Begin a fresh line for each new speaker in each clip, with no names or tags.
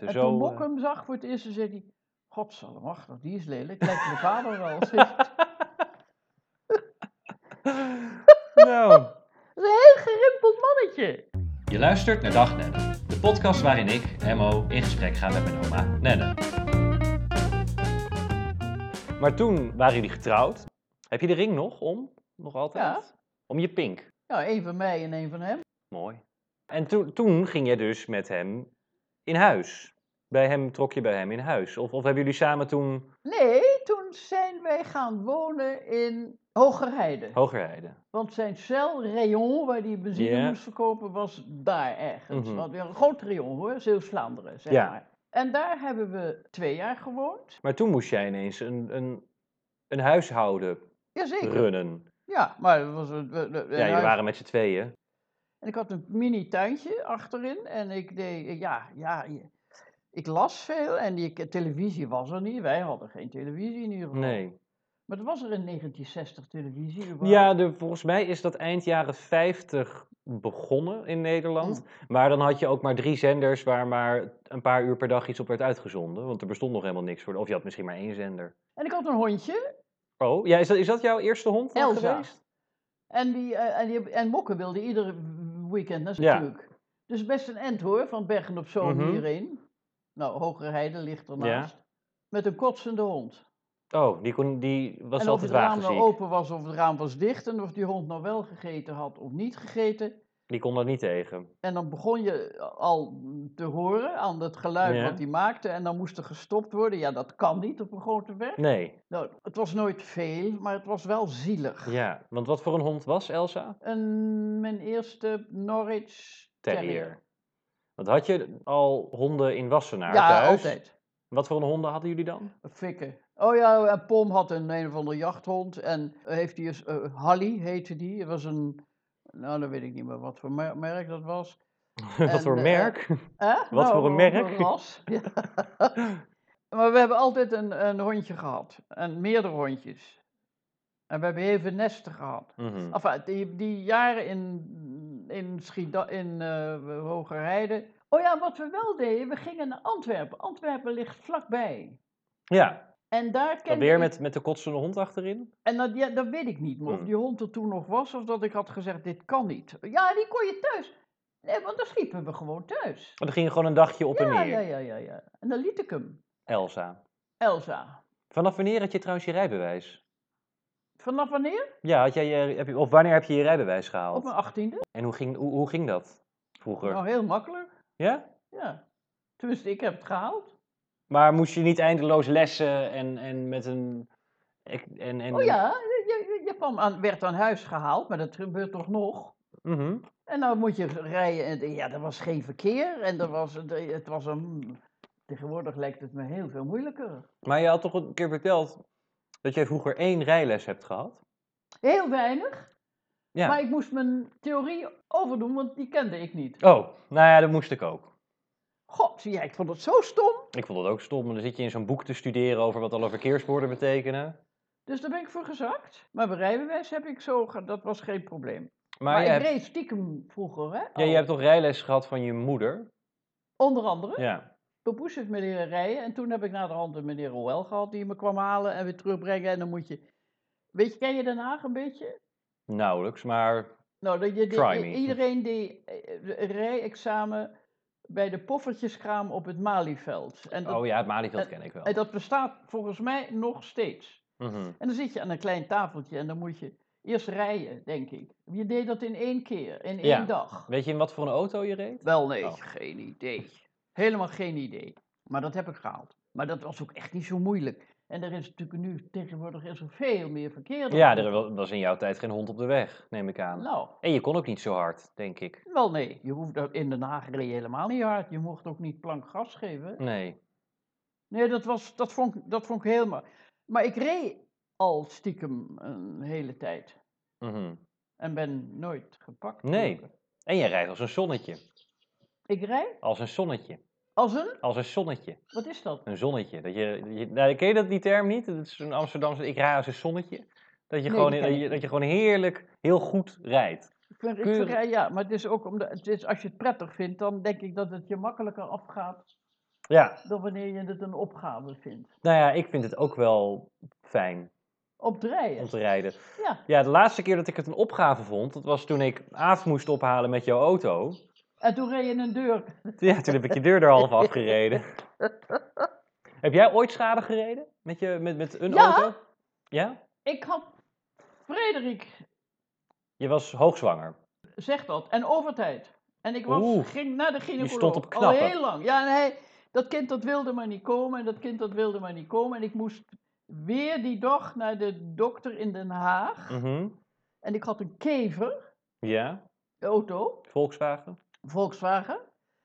En toen Bok
eh,
hem zag voor het eerst, toen zei hij... Godsallemachtig, die is lelijk. Lijkt mijn vader wel. Dat
nou.
is een heel gerimpeld mannetje.
Je luistert naar Dag Nenne, de podcast waarin ik, Emmo, in gesprek ga met mijn oma Nenne.
Maar toen waren jullie getrouwd. Heb je de ring nog om? Nog altijd?
Ja.
Om je pink.
Nou, één van mij en één van hem.
Mooi. En toen toen ging je dus met hem in huis. Bij hem trok je bij hem in huis. Of, of hebben jullie samen toen
Nee, toen zijn wij gaan wonen in Hogerheide.
Hogerheide?
Want zijn cel, rayon, waar hij benzine
Ja.
moest verkopen, was daar ergens.
Mhm.
Want weer een groot rayon hoor, Zeeuws-Vlaanderen, zeg
Ja.
maar. En daar hebben we twee jaar gewoond.
Maar toen moest jij ineens een, een, een huishouden
Jazeker.
runnen.
Ja, maar dat was een, een- een- een
Ja, jullie
huis-
waren met z'n tweeën.
En ik had een mini tuintje achterin en ik deed, eh, ja, ja, je- ik las veel en ik, televisie was er niet. Wij hadden geen televisie in ieder geval.
Nee.
Maar er was er in 1960 televisie. überhaupt.
Ja, de, volgens mij is dat eind jaren 50 begonnen in
Oh.
Nederland. Maar dan had je ook maar drie zenders waar maar een paar uur per dag iets op werd uitgezonden. Want er bestond nog helemaal niks voor. Of je had misschien maar één zender.
En ik had een hondje
Oh, ja, is dat, is dat jouw eerste hond dan
Elsa.
geweest?
en, die, eh, en, die, en Mokke wilde iedere weekend naar
Ja.
natuurlijk. Dus best een end hoor, van Bergen op Zoom
Mhm.
hierheen. Nou, Hogere Heide ligt ernaast. Met een kotsende hond.
Oh, die, kon, die was
en of
altijd
het raam nou
wagenziek.
open was of het raam was dicht en of die hond nou wel gegeten had of niet gegeten.
Die kon dat niet tegen.
En dan begon je al te horen aan het geluid
Ja.
wat hij maakte. En dan moest er gestopt worden. Ja, dat kan niet op een grote weg.
Nee,
Nou, het was nooit veel, maar het was wel zielig.
ja. Want wat voor een hond was Elsa?
En mijn eerste Norwich
Terrier. Want had je al honden in Wassenaar
Ja,
thuis?
altijd.
Wat voor een honden hadden jullie dan?
Fikken. Oh ja, en Pom had een een of andere jachthond. En heeft hij eens, eh, Hallie heette die. Het was een, nou dan weet ik niet meer wat voor mer- merk dat was. En,
Wat voor
eh,
merk?
Hè? Nou,
Wat voor een
wat
merk?
ras. Ja. maar we hebben altijd een, een hondje gehad. En meerdere hondjes. En we hebben even nesten gehad.
Mhm.
Enfin, die, die jaren in, in, Schieda, in eh Hogerheide. Oh ja, wat we wel deden, we gingen naar Antwerpen. Antwerpen ligt vlakbij.
Ja,
En daar
dat
kende
weer
ik-
met, met de kotsende hond achterin?
En dat, ja, dat weet ik niet, maar of
Hmm.
die hond er toen nog was of dat ik had gezegd, dit kan niet. Ja, die kon je thuis. Nee, want dan sliepen we gewoon thuis.
Oh, dan ging je gewoon een dagje op en
Ja,
neer,
ja, ja, ja, ja. En dan liet ik hem.
Elsa.
Elsa.
Vanaf wanneer had je trouwens je rijbewijs?
Vanaf wanneer?
Ja, had jij je, heb je, of wanneer heb je je rijbewijs gehaald?
Op mijn achttiende.
En hoe ging, hoe, hoe ging dat vroeger?
Nou, heel makkelijk.
Ja?
Ja. Tenminste, ik heb het gehaald.
Maar moest je niet eindeloos lessen en, en met een... ek- En, en,
Oh ja, je, je, je kwam aan, werd aan huis gehaald, maar dat gebeurt toch nog?
Mhm.
En dan moet je rijden. En, ja, er was geen verkeer. En er was, het was een... Tegenwoordig lijkt het me heel veel moeilijker.
Maar je had toch een keer verteld dat jij vroeger één rijles hebt gehad?
Heel weinig.
Ja.
Maar ik moest mijn theorie overdoen, want die kende ik niet.
Oh, nou ja, dat moest ik ook.
God, zie jij, ik vond het zo stom.
Ik vond dat ook stom. Dan zit je in zo'n boek te studeren over wat alle verkeerswoorden betekenen.
Dus daar ben ik voor gezakt. Maar mijn rijbewijs heb ik zo... ge- Dat was geen probleem.
Maar,
Maar,
je,
ik
hebt,
reed stiekem vroeger, hè?
ja, je
al.
hebt toch rijles gehad van je moeder?
Onder andere,
Ja.
Papoes heeft me leren rijden. En toen heb ik naar de hand een meneer Roel gehad die me kwam halen en weer terugbrengen. En dan moet je... Weet je, ken je Den Haag een beetje?
Nauwelijks, maar...
Nou, dat je, die-
Try
i-
me.
iedereen die eh, de rijexamen bij de poffertjeskraam op het Malieveld. En dat,
Oh ja, het Malieveld ken ik wel.
en dat bestaat volgens mij nog steeds.
Mhm.
En dan zit je aan een klein tafeltje en dan moet je eerst rijden, denk ik. Je deed dat in één keer, in
Ja.
één dag.
Weet je in wat voor een auto je reed?
Wel nee,
Oh.
geen idee. Helemaal geen idee. Maar dat heb ik gehaald. Maar dat was ook echt niet zo moeilijk. En er is natuurlijk nu tegenwoordig is er veel meer verkeer. dan
Ja,
toen.
er wa- was in jouw tijd geen hond op de weg, neem ik aan.
Nou,
En je kon ook niet zo hard, denk ik.
wel nee. Je hoeft dat- in Den Haag reed je helemaal niet hard. Je mocht ook niet plank gas geven.
Nee.
Nee, dat, was, dat, vond, ik- dat vond ik helemaal. Maar ik reed al stiekem een hele tijd.
Mhm.
En ben nooit gepakt.
Nee. En jij rijdt als een zonnetje.
Ik rijd
Als een zonnetje.
als een.
Als een zonnetje.
Wat is dat?
Een zonnetje. Dat je, je- nou, ken je dat, die term niet? Dat is een Amsterdamse, ik rij als een zonnetje. Dat je,
Nee,
gewoon,
die
dat,
ken ik
je,
niet.
dat je gewoon heerlijk, heel goed rijdt.
Ik vind, ik
Keurig.
verrij- ja, maar het is ook omdat het is, als je het prettig vindt, dan denk ik dat het je makkelijker afgaat
Ja,
dan wanneer je het een opgave vindt.
nou ja, ik vind het ook wel fijn
Op
om
dreien.
te rijden.
Ja.
Ja, de laatste keer dat ik het een opgave vond, dat was toen ik Aaf moest ophalen met jouw auto.
En toen reed je een deur.
Ja, toen heb ik je deur er half afgereden. heb jij ooit schade gereden met, je, met, met een
Ja.
auto? Ja?
Ik had. Frederik
Je was hoogzwanger.
zegt dat. En overtijd. En ik was,
Oeh.
ging naar de gynaecoloog.
stond op
Al
knappen.
heel lang. Ja, en hij, dat kind dat wilde maar niet komen. En dat kind dat wilde maar niet komen. En ik moest weer die dag naar de dokter in Den Haag.
Mhm.
En ik had een kever,
Ja,
de auto,
Volkswagen.
Volkswagen.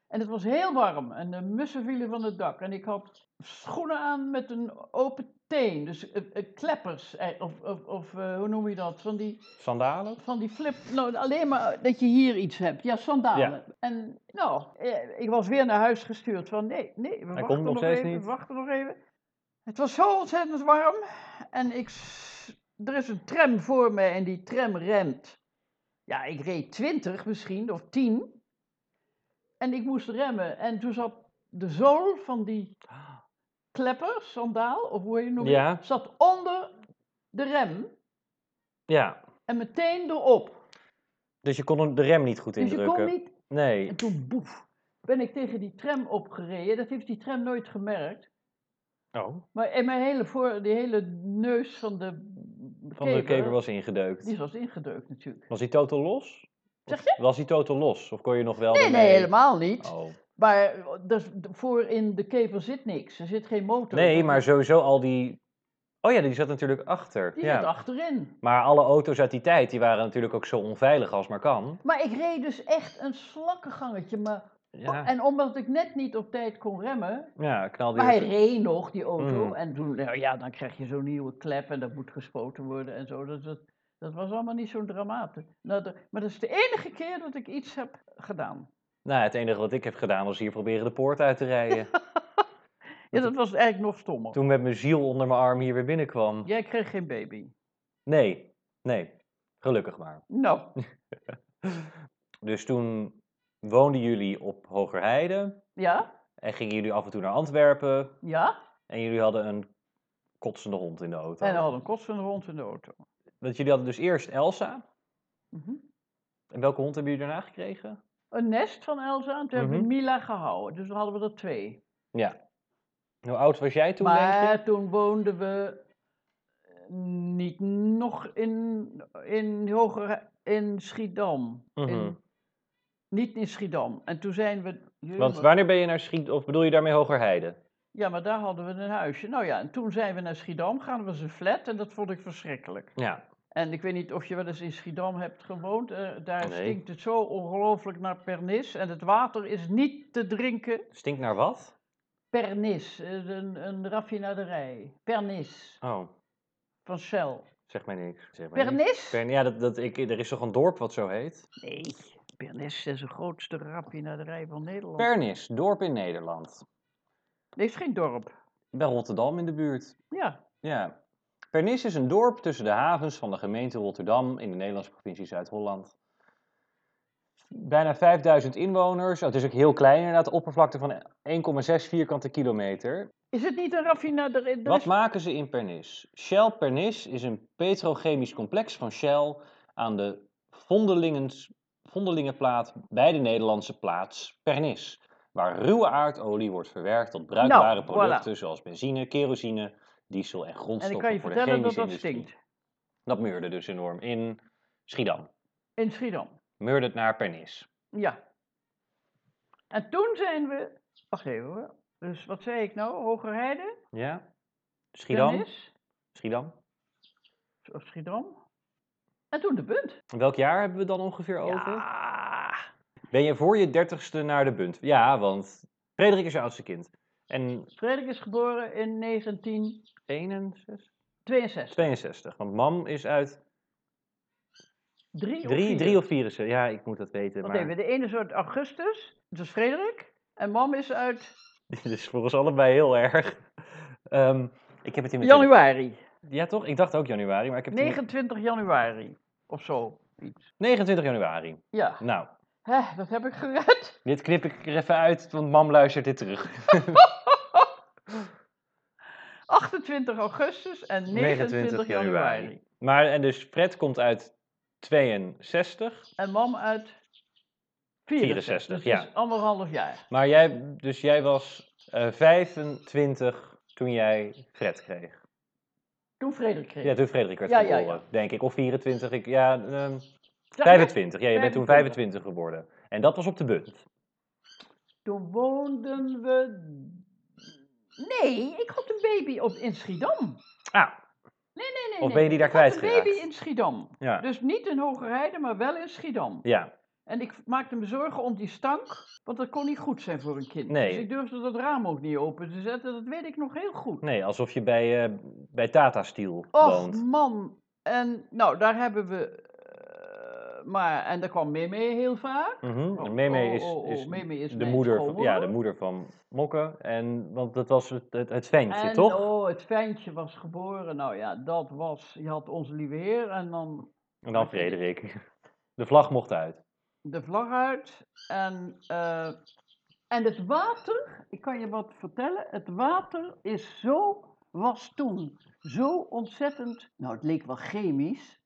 En het was heel warm. En de mussen vielen van het dak. En ik had schoenen aan met een open teen. Dus eh, eh, kleppers. eh, Of, of, of eh, hoe noem je dat? Van die
Sandalen.
Van die flip, nou, alleen maar dat je hier iets hebt. Ja, sandalen. En nou, eh, ik was weer naar huis gestuurd van nee, nee, we wachten
komt nog
nog
steeds
even,
niet.
we wachten nog even. Het was zo ontzettend warm en ik, s- er is een tram voor mij en die tram remt. Ja, ik reed 20 misschien, of 10. En ik moest remmen en toen zat de zool van die klepper, sandaal, of hoe je het noemt,
Ja.
zat onder de rem
Ja,
en meteen erop.
dus je kon hem- de rem niet goed
Dus je
indrukken.
kon niet.
Nee.
En toen boef, ben ik tegen die tram opgereden. Dat heeft die tram nooit gemerkt.
Oh,
Maar en mijn hele, voor, die hele neus van de
van de kever was ingedeukt.
Die was ingedeukt natuurlijk.
Was hij totaal los?
Zeg
je? Was hij totaal los? Of kon je nog wel...
Nee, nee,
daarmee-
helemaal niet.
Oh.
Maar dus, voor in de kever zit niks. Er zit geen motor.
Nee, maar sowieso al die... Oh ja, die zat natuurlijk achter.
Die
ja.
zit achterin.
Maar alle auto's uit die tijd, die waren natuurlijk ook zo onveilig als maar kan.
Maar ik reed dus echt een slakkengangetje. Maar...
Ja,
En omdat ik net niet op tijd kon remmen,
ja knalde
Oh, Maar hij
die-
reed nog, die auto.
Mm.
En toen, nou ja, dan krijg je zo'n nieuwe klep en dat moet gespoten worden en zo. Dat, dat, dat was allemaal niet zo'n dramaat. Nou, dat- maar dat is de enige keer dat ik iets heb gedaan.
Nou, het enige wat ik heb gedaan was hier proberen de poort uit te rijden.
Ja, dat was eigenlijk nog stommer.
Toen met mijn ziel onder mijn arm hier weer binnenkwam.
Jij kreeg geen baby.
Nee, nee. Gelukkig maar.
Nou,
Dus toen woonden jullie op Hogerheide
ja,
en gingen jullie af en toe naar Antwerpen.
ja.
En jullie hadden een kotsende hond in de auto.
En hij had een kotsende hond in de auto.
Want jullie hadden dus eerst Elsa.
Mhm.
En welke hond hebben jullie daarna gekregen?
Een nest van Elsa en toen hebben we
Mhm.
Mila gehouden. Dus dan hadden we er twee.
Hoe oud was jij toen, denk je?
maar toen woonden we eh, niet nog in, in, hoger, in Schiedam.
Mhm.
in, niet in Schiedam. En toen zijn we.
Want
Jemig.
wanneer ben je naar Schiet... Of bedoel je daarmee Hogerheide?
Ja, maar daar hadden we een huisje. Nou ja, en toen zijn we naar Schiedam gaan, was een flat en dat vond ik verschrikkelijk.
Ja.
En ik weet niet of je wel eens in Schiedam hebt gewoond. eh, daar
Nee.
stinkt het zo ongelooflijk naar pernis. En het water is niet te drinken.
Stinkt naar wat?
Pernis, eh, een, een raffinaderij. Pernis,
Oh,
van Shell.
zeg mij niks. Zeg mij niks.
Pernis?
Pern- ja, dat, dat, ik, er is toch een dorp wat zo heet?
Nee, Pernis is de grootste raffinaderij van Nederland.
Pernis, dorp in Nederland.
Nee, het is geen dorp.
Bij Rotterdam in de buurt.
Ja,
Ja. Pernis is een dorp tussen de havens van de gemeente Rotterdam in de Nederlandse provincie Zuid-Holland. Bijna 5000 inwoners. Oh, het is ook heel klein, inderdaad. Oppervlakte van 1,6 vierkante kilometer.
is het niet een raffinaderij? Er
Wat
is-
maken ze in Pernis? Shell Pernis is een petrochemisch complex van Shell aan de Vondelingen- Vondelingenplaat bij de Nederlandse plaats Pernis. Waar ruwe aardolie wordt verwerkt tot bruikbare
Nou, voilà.
producten zoals benzine, kerosine, diesel en
En ik
grondstoffen
kan je
voor de
vertellen dat
chemische
dat
industrie.
stinkt.
Dat meurde dus enorm in Schiedam.
In Schiedam.
Meurde het naar Pernis.
Ja. En toen zijn we. Wacht even hoor. Dus wat zei ik nou? Hogerheide?
Ja? Schiedam?
Pernis,
Schiedam.
of Schiedam. En toen de Bunt.
Welk jaar hebben we het dan ongeveer over?
Ja.
Ben je voor je dertigste naar de bunt? Ja, want Frederik is je oudste kind. En
Frederik is geboren in 1962.
61? 62. Want mam is uit
Drie, of
3
vier.
drie of 4. Ja, ik moet dat weten.
Want
Maar
even, de ene is uit Augustus, dus Frederik. En mam is uit
dit is voor ons allebei heel erg. Ehm, ik heb het in mijn
januari.
tele- Ja, toch? Ik dacht ook januari, maar ik heb het in mijn-
29 januari of zo. Iets.
29 januari.
Ja.
Nou,
Hè, dat heb ik gered.
Dit knip ik er even uit, want mam luistert dit terug.
28 augustus en 29,
29
januari.
januari. Maar en dus Fred komt uit 62.
En mam uit 64.
64,
dus dat
ja.
is anderhalf jaar.
Maar jij, dus jij was eh 25 toen jij Fred kreeg.
Toen Frederik kreeg.
Ja, toen Frederik werd
Ja, ja, Nou,
geboren, denk ik. Of 24, ik, ja, ehm, 25. Ja, je bent toen 25 geworden. En dat was op de Bunt.
Toen woonden we. Nee, ik had een baby op, in Schiedam.
Ah,
Nee, nee, nee.
Of
nee.
ben je die daar
Ik had
kwijtgeraakt?
Een baby in Schiedam.
ja.
Dus niet in Hogerheide, maar wel in Schiedam.
Ja,
En ik maakte me zorgen om die stank, want dat kon niet goed zijn voor een kind.
Nee.
Dus ik durfde dat raam ook niet open te zetten, dat weet ik nog heel goed.
nee, alsof je bij, eh, bij Tata Steel
Och Oh,
woont.
man, en nou, daar hebben we. eh, maar, en daar kwam Meme heel vaak.
Mhm.
Oh,
En Meme
oh,
is,
oh, oh,
is
Meme is
de,
mijn
moeder van, ja, de
schoonmoeder.
moeder van Mokke. En, want dat was het, het, het ventje,
en,
toch?
oh, het fijntje was geboren. Nou ja, dat was, je had onze lieve heer en dan
En dan Frederik. De vlag mocht uit.
de vlag uit. En, eh, en het water, ik kan je wat vertellen, het water is zo, was toen zo ontzettend, nou het leek wel chemisch,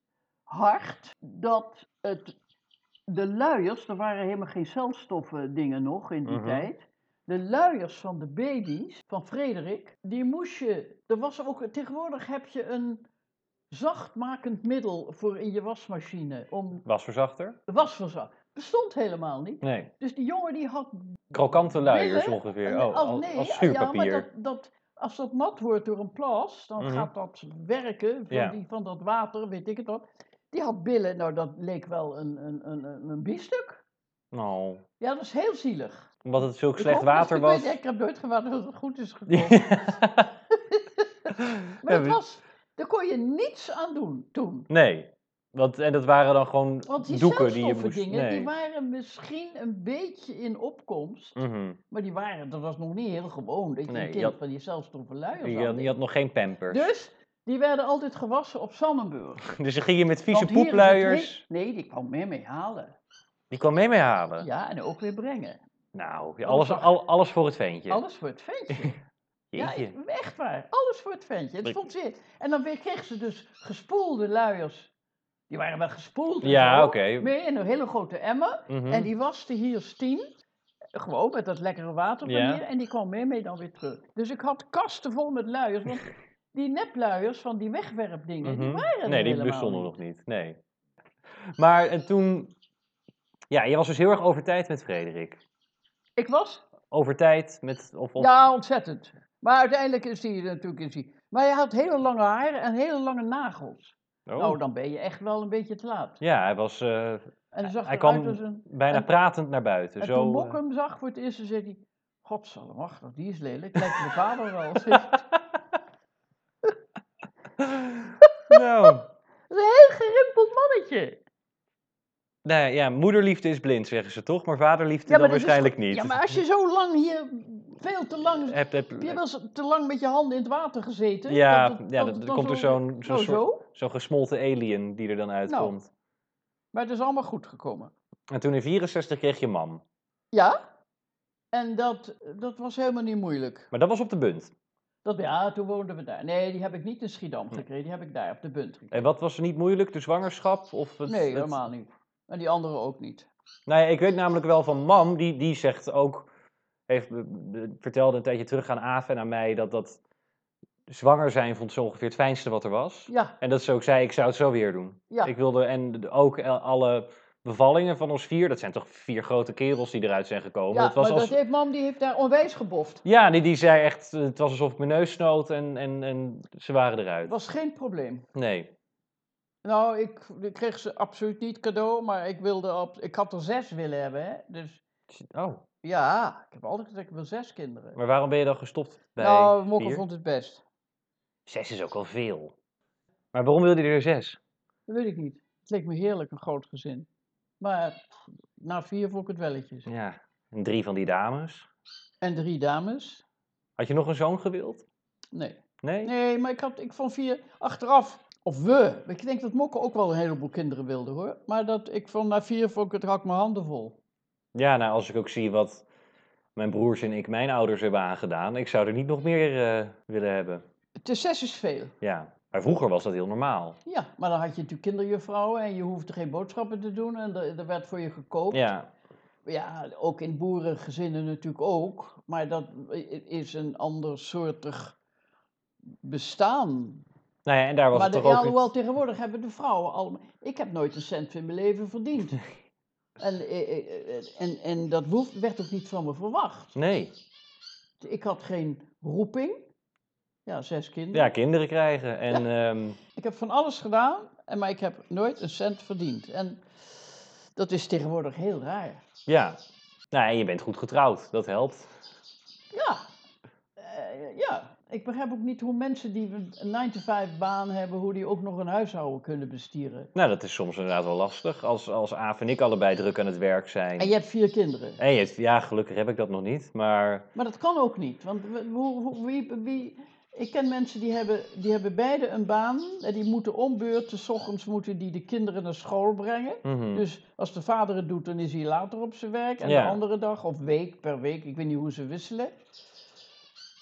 hard, dat het, de luiers, er waren helemaal geen celstoffen dingen nog in die
Mhm.
tijd. De luiers van de baby's, van Frederik, die moest je, er was ook, tegenwoordig heb je een zachtmakend middel voor in je wasmachine om
Wasverzachter?
de wasverzak. Bestond helemaal niet.
Nee.
Dus die jongen die had.
Krokante luiers
Billen?
ongeveer.
een-
Oh, als, als schuurpapier.
Ja, maar dat, dat, als dat nat wordt door een plas, dan
Mhm.
gaat dat werken van,
Ja.
die, van dat water, weet ik het wat. Die had billen, nou dat leek wel een, een, een, een, een biefstuk.
Oh,
Ja, dat is heel zielig.
omdat het zulk
Ik
slecht
hoop dus dat-
water
ik
was.
Weet, ik heb nooit gewacht dat het goed is gekomen. Maar
Ja,
dat
we-
was, daar kon je niets aan doen toen.
Nee. Want, en dat waren dan gewoon
Want die
doeken die je moest...
zelfstoffendingen,
nee.
die waren misschien een beetje in opkomst.
Mhm.
Maar die waren, dat was nog niet heel gewoon. Dat je
Nee,
een
je
kind
had-
van die zelfstoffen luiers
je,
had.
had, je had nog geen pampers. Dus,
Dus die werden altijd gewassen op Sannenburg.
dan ging je met vieze
Want hier is het
poepluiers.
heet- Nee, die kwam meer mee halen.
Die kwam mee mee halen.
Ja, en ook weer brengen.
Nou, ja, alles,
Alles zag-
al, alles voor het ventje.
Alles voor het ventje. ja,
Jeetje.
ik- echt waar. Alles voor het ventje. Het
Ik-
stond zeer. En dan weer kreeg ze dus gespoelde luiers. Die waren wel gespoeld. en
Ja,
zo,
oké.
Mee in een hele grote emmer.
Mhm.
En die waste hier stien. Gewoon met dat lekkere water van
Ja.
hier. En die kwam mee, mee dan weer terug. Dus ik had kasten vol met luiers. Want die nepluiers van die wegwerpdingen, die
Mhm.
waren er
Nee, die
helemaal
bestonden
niet.
nog niet. Nee. Maar en toen... Ja, je was dus heel erg over tijd met Frederik.
Ik was,
Over tijd met... Of, of-
ja, ontzettend. Maar uiteindelijk is die natuurlijk is die. Maar hij had hele lange haren en hele lange nagels.
Oh.
Nou, dan ben je echt wel een beetje te laat.
Ja, hij was eh,
En hij zag
Hij
hij
kwam
eruit als een...
bijna
En-
pratend naar buiten.
En
zo,
toen
eh,
Mok hem zag voor het eerst, dan zei hij... Godzallemachtig, die is lelijk. Lijkt mijn vader wel. Dat is
nou,
een heel gerimpeld mannetje.
nee, ja, moederliefde is blind, zeggen ze toch? Maar vaderliefde dan
dat is
waarschijnlijk
toch-
niet.
Ja, maar als je zo lang hier, veel te lang, heb
Heb- heb-
je wel eens te lang met je handen in het water gezeten?
ja,
Dat het-
ja,
dat
dat-
het
er
dan
komt er
zo-
zo'n zo'n
zo,
soort-
zo.
zo'n gesmolten alien die er dan uitkomt.
Nou. Maar het is allemaal goed gekomen.
En toen in 64 kreeg je mam.
Ja, en dat, dat was helemaal niet moeilijk.
Maar dat was op de bunt.
Dat, ja, toen woonden we daar. Nee, die heb ik niet in
Hm.
Schiedam gekregen, die heb ik daar op de Bunt gekregen.
En wat was er niet moeilijk? De zwangerschap? Of het,
nee,
het-
helemaal niet. En die andere ook niet.
Nou ja, ik weet namelijk wel van mam, die, die zegt ook, heeft, be- be- vertelde een tijdje terug aan Aaf en aan mij, dat dat zwanger zijn vond ze ongeveer het fijnste wat er was.
Ja,
En dat ze ook zei, ik zou het zo weer doen.
ja.
Ik wilde, en de- ook el- alle bevallingen van ons vier, dat zijn toch vier grote kerels die eruit zijn gekomen.
ja
Oh, dat was
maar
als,
dat heeft, mam die heeft daar onwijs geboft.
Ja, die, die zei echt, eh, het was alsof ik mijn neus snoot en, en, en ze waren eruit.
Dat was geen probleem.
Nee.
Nou, ik, ik kreeg ze absoluut niet cadeau, maar ik wilde ab- ik had er zes willen hebben, hè? Dus
Oh,
ja, ik heb altijd gezegd, ik wil zes kinderen.
maar waarom ben je dan gestopt bij
nou, Mokkel
vier?
vond het best.
Zes is ook al veel. Maar waarom wilde je er zes?
Dat weet ik niet. Het leek me heerlijk, een groot gezin. Maar pff, na vier vond ik het welletjes.
Ja, en drie van die dames.
En drie dames?
Had je nog een zoon gewild?
Nee.
Nee?
Nee, maar ik, had, ik vond vier achteraf, of we, ik denk dat Mokkel ook wel een heleboel kinderen wilde hoor. Maar dat ik vond na vier vond ik het, had ik mijn handen vol.
Ja, nou, als ik ook zie wat mijn broers en ik mijn ouders hebben aangedaan, ik zou er niet nog meer eh, willen hebben.
Te zes is veel.
Ja, maar vroeger was dat heel normaal.
Ja, maar dan had je natuurlijk kinderjuffrouwen en je hoefde geen boodschappen te doen en er, er werd voor je gekookt.
Ja,
Ja, ook in boerengezinnen natuurlijk ook, maar dat i- is een ander soortig bestaan.
nou ja, en daar was
maar
het
de,
toch
ja,
ook...
alhoewel tegenwoordig hebben de vrouwen allemaal... Ik heb nooit een cent in mijn leven verdiend. en, eh, eh, eh, en, en dat woef- werd ook niet van me verwacht.
Nee,
Ik had geen roeping. Ja, zes kinderen.
ja, kinderen krijgen en... ehm,
Ik heb van alles gedaan, en- maar ik heb nooit een cent verdiend. En dat is tegenwoordig heel raar.
Ja. Nou, en je bent goed getrouwd. Dat helpt.
Ja. Eh, ja, ik begrijp ook niet hoe mensen die een 9-to-5 baan hebben, hoe die ook nog een huishouden kunnen bestieren.
Nou, dat is soms inderdaad wel lastig. Als, als Aaf en ik allebei druk aan het werk zijn.
En je hebt vier kinderen.
En je hebt- ja, gelukkig heb ik dat nog niet. Maar
Maar dat kan ook niet, want we- hoe, hoe- wie, wie, ik ken mensen die hebben, die hebben beide een baan en die moeten om beurten, 's ochtends moeten die de kinderen naar school brengen.
mhm.
Dus als de vader het doet, dan is hij later op zijn werk. En
Ja.
de andere dag, of week per week, ik weet niet hoe ze wisselen.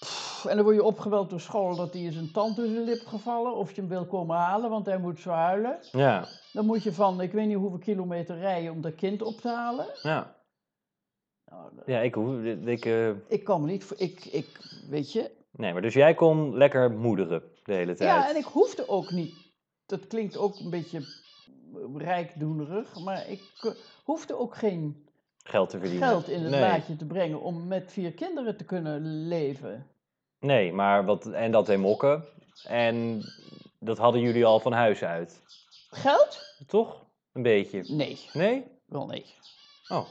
Pff, en dan word je opgeweld door school dat hij is een tand tussen de lip gevallen. Of je hem wil komen halen, want hij moet zo huilen.
ja,
Dan moet je van, ik weet niet hoeveel kilometer rijden om dat kind op te halen.
ja.
Nou, dat-
ja, ik hoef. Ik, eh,
ik kan me niet, voor- ik, ik, weet je.
nee, maar dus jij kon lekker moederen de hele tijd.
Ja, en ik hoefde ook niet. Dat klinkt ook een beetje rijkdoenerig, maar ik eh, hoefde ook geen
Geld te verdienen.
geld in het
nee.
laadje te brengen om met vier kinderen te kunnen leven.
Nee, maar wat. En dat in mokken. En dat hadden jullie al van huis uit.
Geld?
Toch? Een beetje.
Nee,
Nee?
wel nee.
Oh.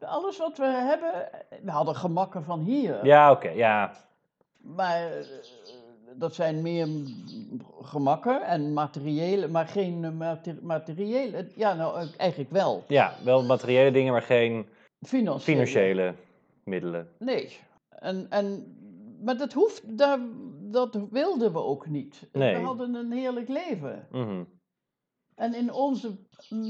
Alles wat we hebben, we hadden gemakken van hier.
Ja, oké. Ja.
Maar eh, dat zijn meer mm, gemakken en materiële, maar geen eh, mate- materiële. Ja, nou eh, eigenlijk wel.
ja, wel materiële dingen, maar geen
Financiële.
financiële middelen.
Nee. En, en, maar dat hoeft, daar, dat wilden we ook niet.
Nee.
We hadden een heerlijk leven.
Mhm.
En in onze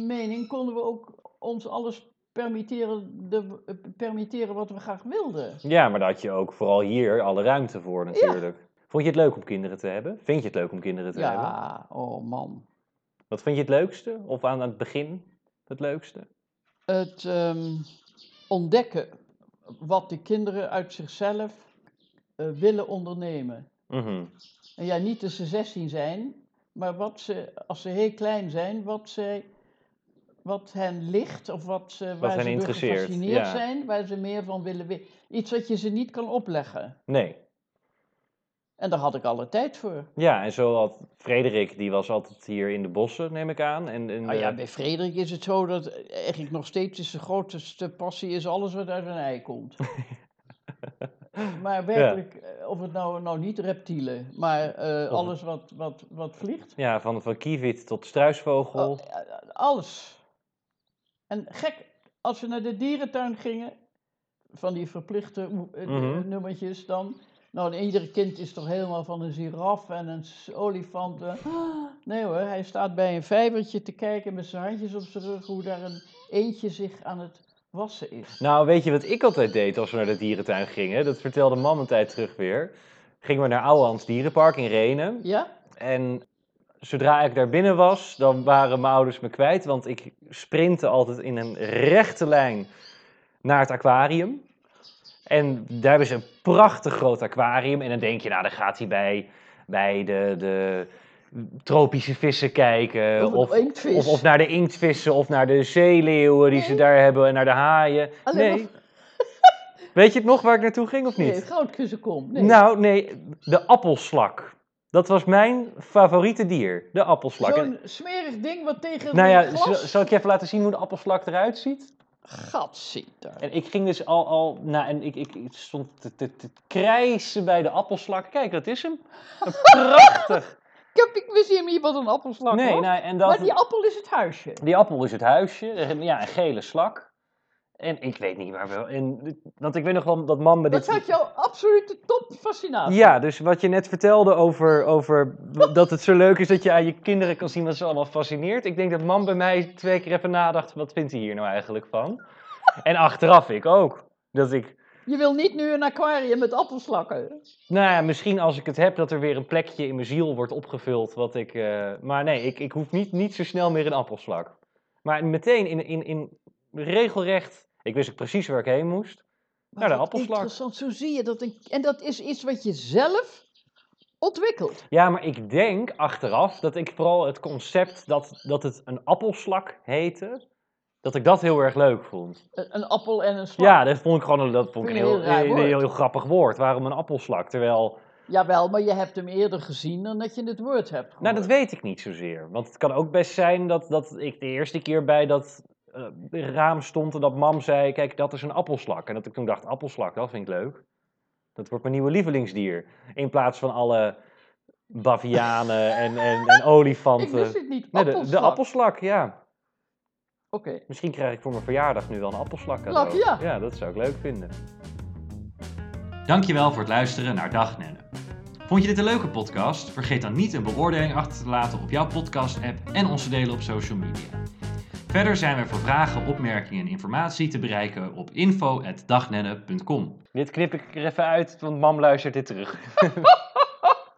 mening konden we ook ons alles permitteren, de, eh, permitteren wat we graag wilden.
Ja, maar daar had je ook vooral hier alle ruimte voor natuurlijk. Vond je het leuk om kinderen te hebben? Vind je het leuk om kinderen te hebben?
Ja, oh man.
Wat vind je het leukste? Of aan het begin het leukste?
Het ehm, ontdekken wat de kinderen uit zichzelf eh, willen ondernemen.
Mhm.
En ja, niet dat ze 16 zijn, maar wat ze, als ze heel klein zijn, wat, zij, wat hen ligt of wat ze, waar
hen
ze door
interesseert,
gefascineerd
ja.
zijn, waar ze meer van willen weten. Iets wat je ze niet kan opleggen.
Nee.
En daar had ik alle tijd voor.
Ja, en zo had Frederik, die was altijd hier in de bossen, neem ik aan. En, en,
Nou ja,
eh,
bij Frederik is het zo dat eigenlijk nog steeds is zijn grootste passie is alles wat uit een ei komt. maar werkelijk, eh, of het nou, nou niet reptielen, maar eh,
Of-
alles wat, wat, wat vliegt.
ja, van, van kievit tot struisvogel.
Oh, eh, alles. En gek, als we naar de dierentuin gingen, van die verplichte oe- eh,
Mhm.
nummertjes dan. Nou, en ieder kind is toch helemaal van een giraf en een s- olifant. eh. Nee hoor, hij staat bij een vijvertje te kijken met zijn handjes op zijn rug hoe daar een eentje zich aan het wassen is.
Nou, weet je wat ik altijd deed als we naar de dierentuin gingen? Dat vertelde mam een tijd terug weer. Gingen we naar Ouwehands Dierenpark in Renen.
Ja?
En zodra ik daar binnen was, dan waren mijn ouders me kwijt, want ik sprintte altijd in een rechte lijn naar het aquarium. En daar hebben ze een prachtig groot aquarium. En dan denk je, nou, dan gaat hij bij, bij de, de tropische vissen kijken.
Of een inktvis.
Eh, Of, nou of naar de inktvissen, of naar de zeeleeuwen die ze
Nee.
daar hebben, en naar de haaien.
Alleen
nee.
maar-
Weet je het nog waar ik naartoe ging of niet?
Nee, goudkussenkom. Nee.
Nou, nee, de appelslak. Dat was mijn favoriete dier, de appelslak. En-
Zo'n smerig ding wat tegen
nou
een
ja, zal,
glas
zal ik je even laten zien hoe de appelslak eruit ziet?
gat zit daar.
En ik ging dus al, al nou, en ik, ik, ik stond te, te, te krijsen bij de appelslak. Kijk, dat is hem. Prachtig.
Ik, heb, ik wist niet meer wat een appelslak
Nee,
was.
nou, en dat,
Maar
die,
die appel is het huisje.
appel is het huisje. En Ja, een gele slak. En ik weet niet waar wel. En, want ik weet nog wel dat mam me
Dat
dit...
had jouw absolute topfascinatie.
Ja, dus wat je net vertelde over, over dat het zo leuk is dat je aan je kinderen kan zien wat ze allemaal fascineert. Ik denk dat mam bij mij twee keer even nadacht, wat vindt hij hier nou eigenlijk van? En achteraf ik ook. Dat ik,
Je wil niet nu een aquarium met appelslakken.
nou ja, misschien als ik het heb, dat er weer een plekje in mijn ziel wordt opgevuld. Wat ik, eh, maar nee, ik, ik hoef niet, niet zo snel meer een appelslak. Maar meteen in, in, in regelrecht, ik wist ook precies waar ik heen moest.
Wat
de
wat
appelslak.
Interessant, zo zie je dat. Een, en dat is iets wat je zelf ontwikkelt.
Ja, maar ik denk achteraf dat ik vooral het concept dat, dat het een appelslak heette, dat ik dat heel erg leuk vond.
Een, een appel en een slak.
Ja, dat vond ik gewoon een, dat vond ik een
Vind ik
heel,
een heel raar
een
woord.
heel, heel grappig woord. Waarom een appelslak? Terwijl,
Jawel, maar je hebt hem eerder gezien dan dat je het woord hebt
nou dat
weet
weet ik niet zozeer. Want het kan ook best zijn dat, dat ik de eerste keer bij dat eh, raam stond en dat mam zei, kijk dat is een appelslak. En dat ik toen dacht, appelslak, dat vind ik leuk. Dat wordt mijn nieuwe lievelingsdier. In plaats van alle bavianen en, en, en olifanten.
Ik wist het niet.
Nee, de,
appelslak.
de appelslak, ja.
Oké.
Misschien krijg ik voor mijn verjaardag nu wel een appelslak cadeau.
Slak, ja.
dat zou ik leuk vinden.
Dankjewel voor het luisteren naar Dag Nenne. Vond je dit een leuke podcast? Vergeet dan niet een beoordeling achter te laten op jouw podcast-app en ons te delen op social media. Verder zijn we voor vragen, opmerkingen en informatie te bereiken op info.dagnenne.com.
Dit knip ik er even uit, want mam luistert dit terug.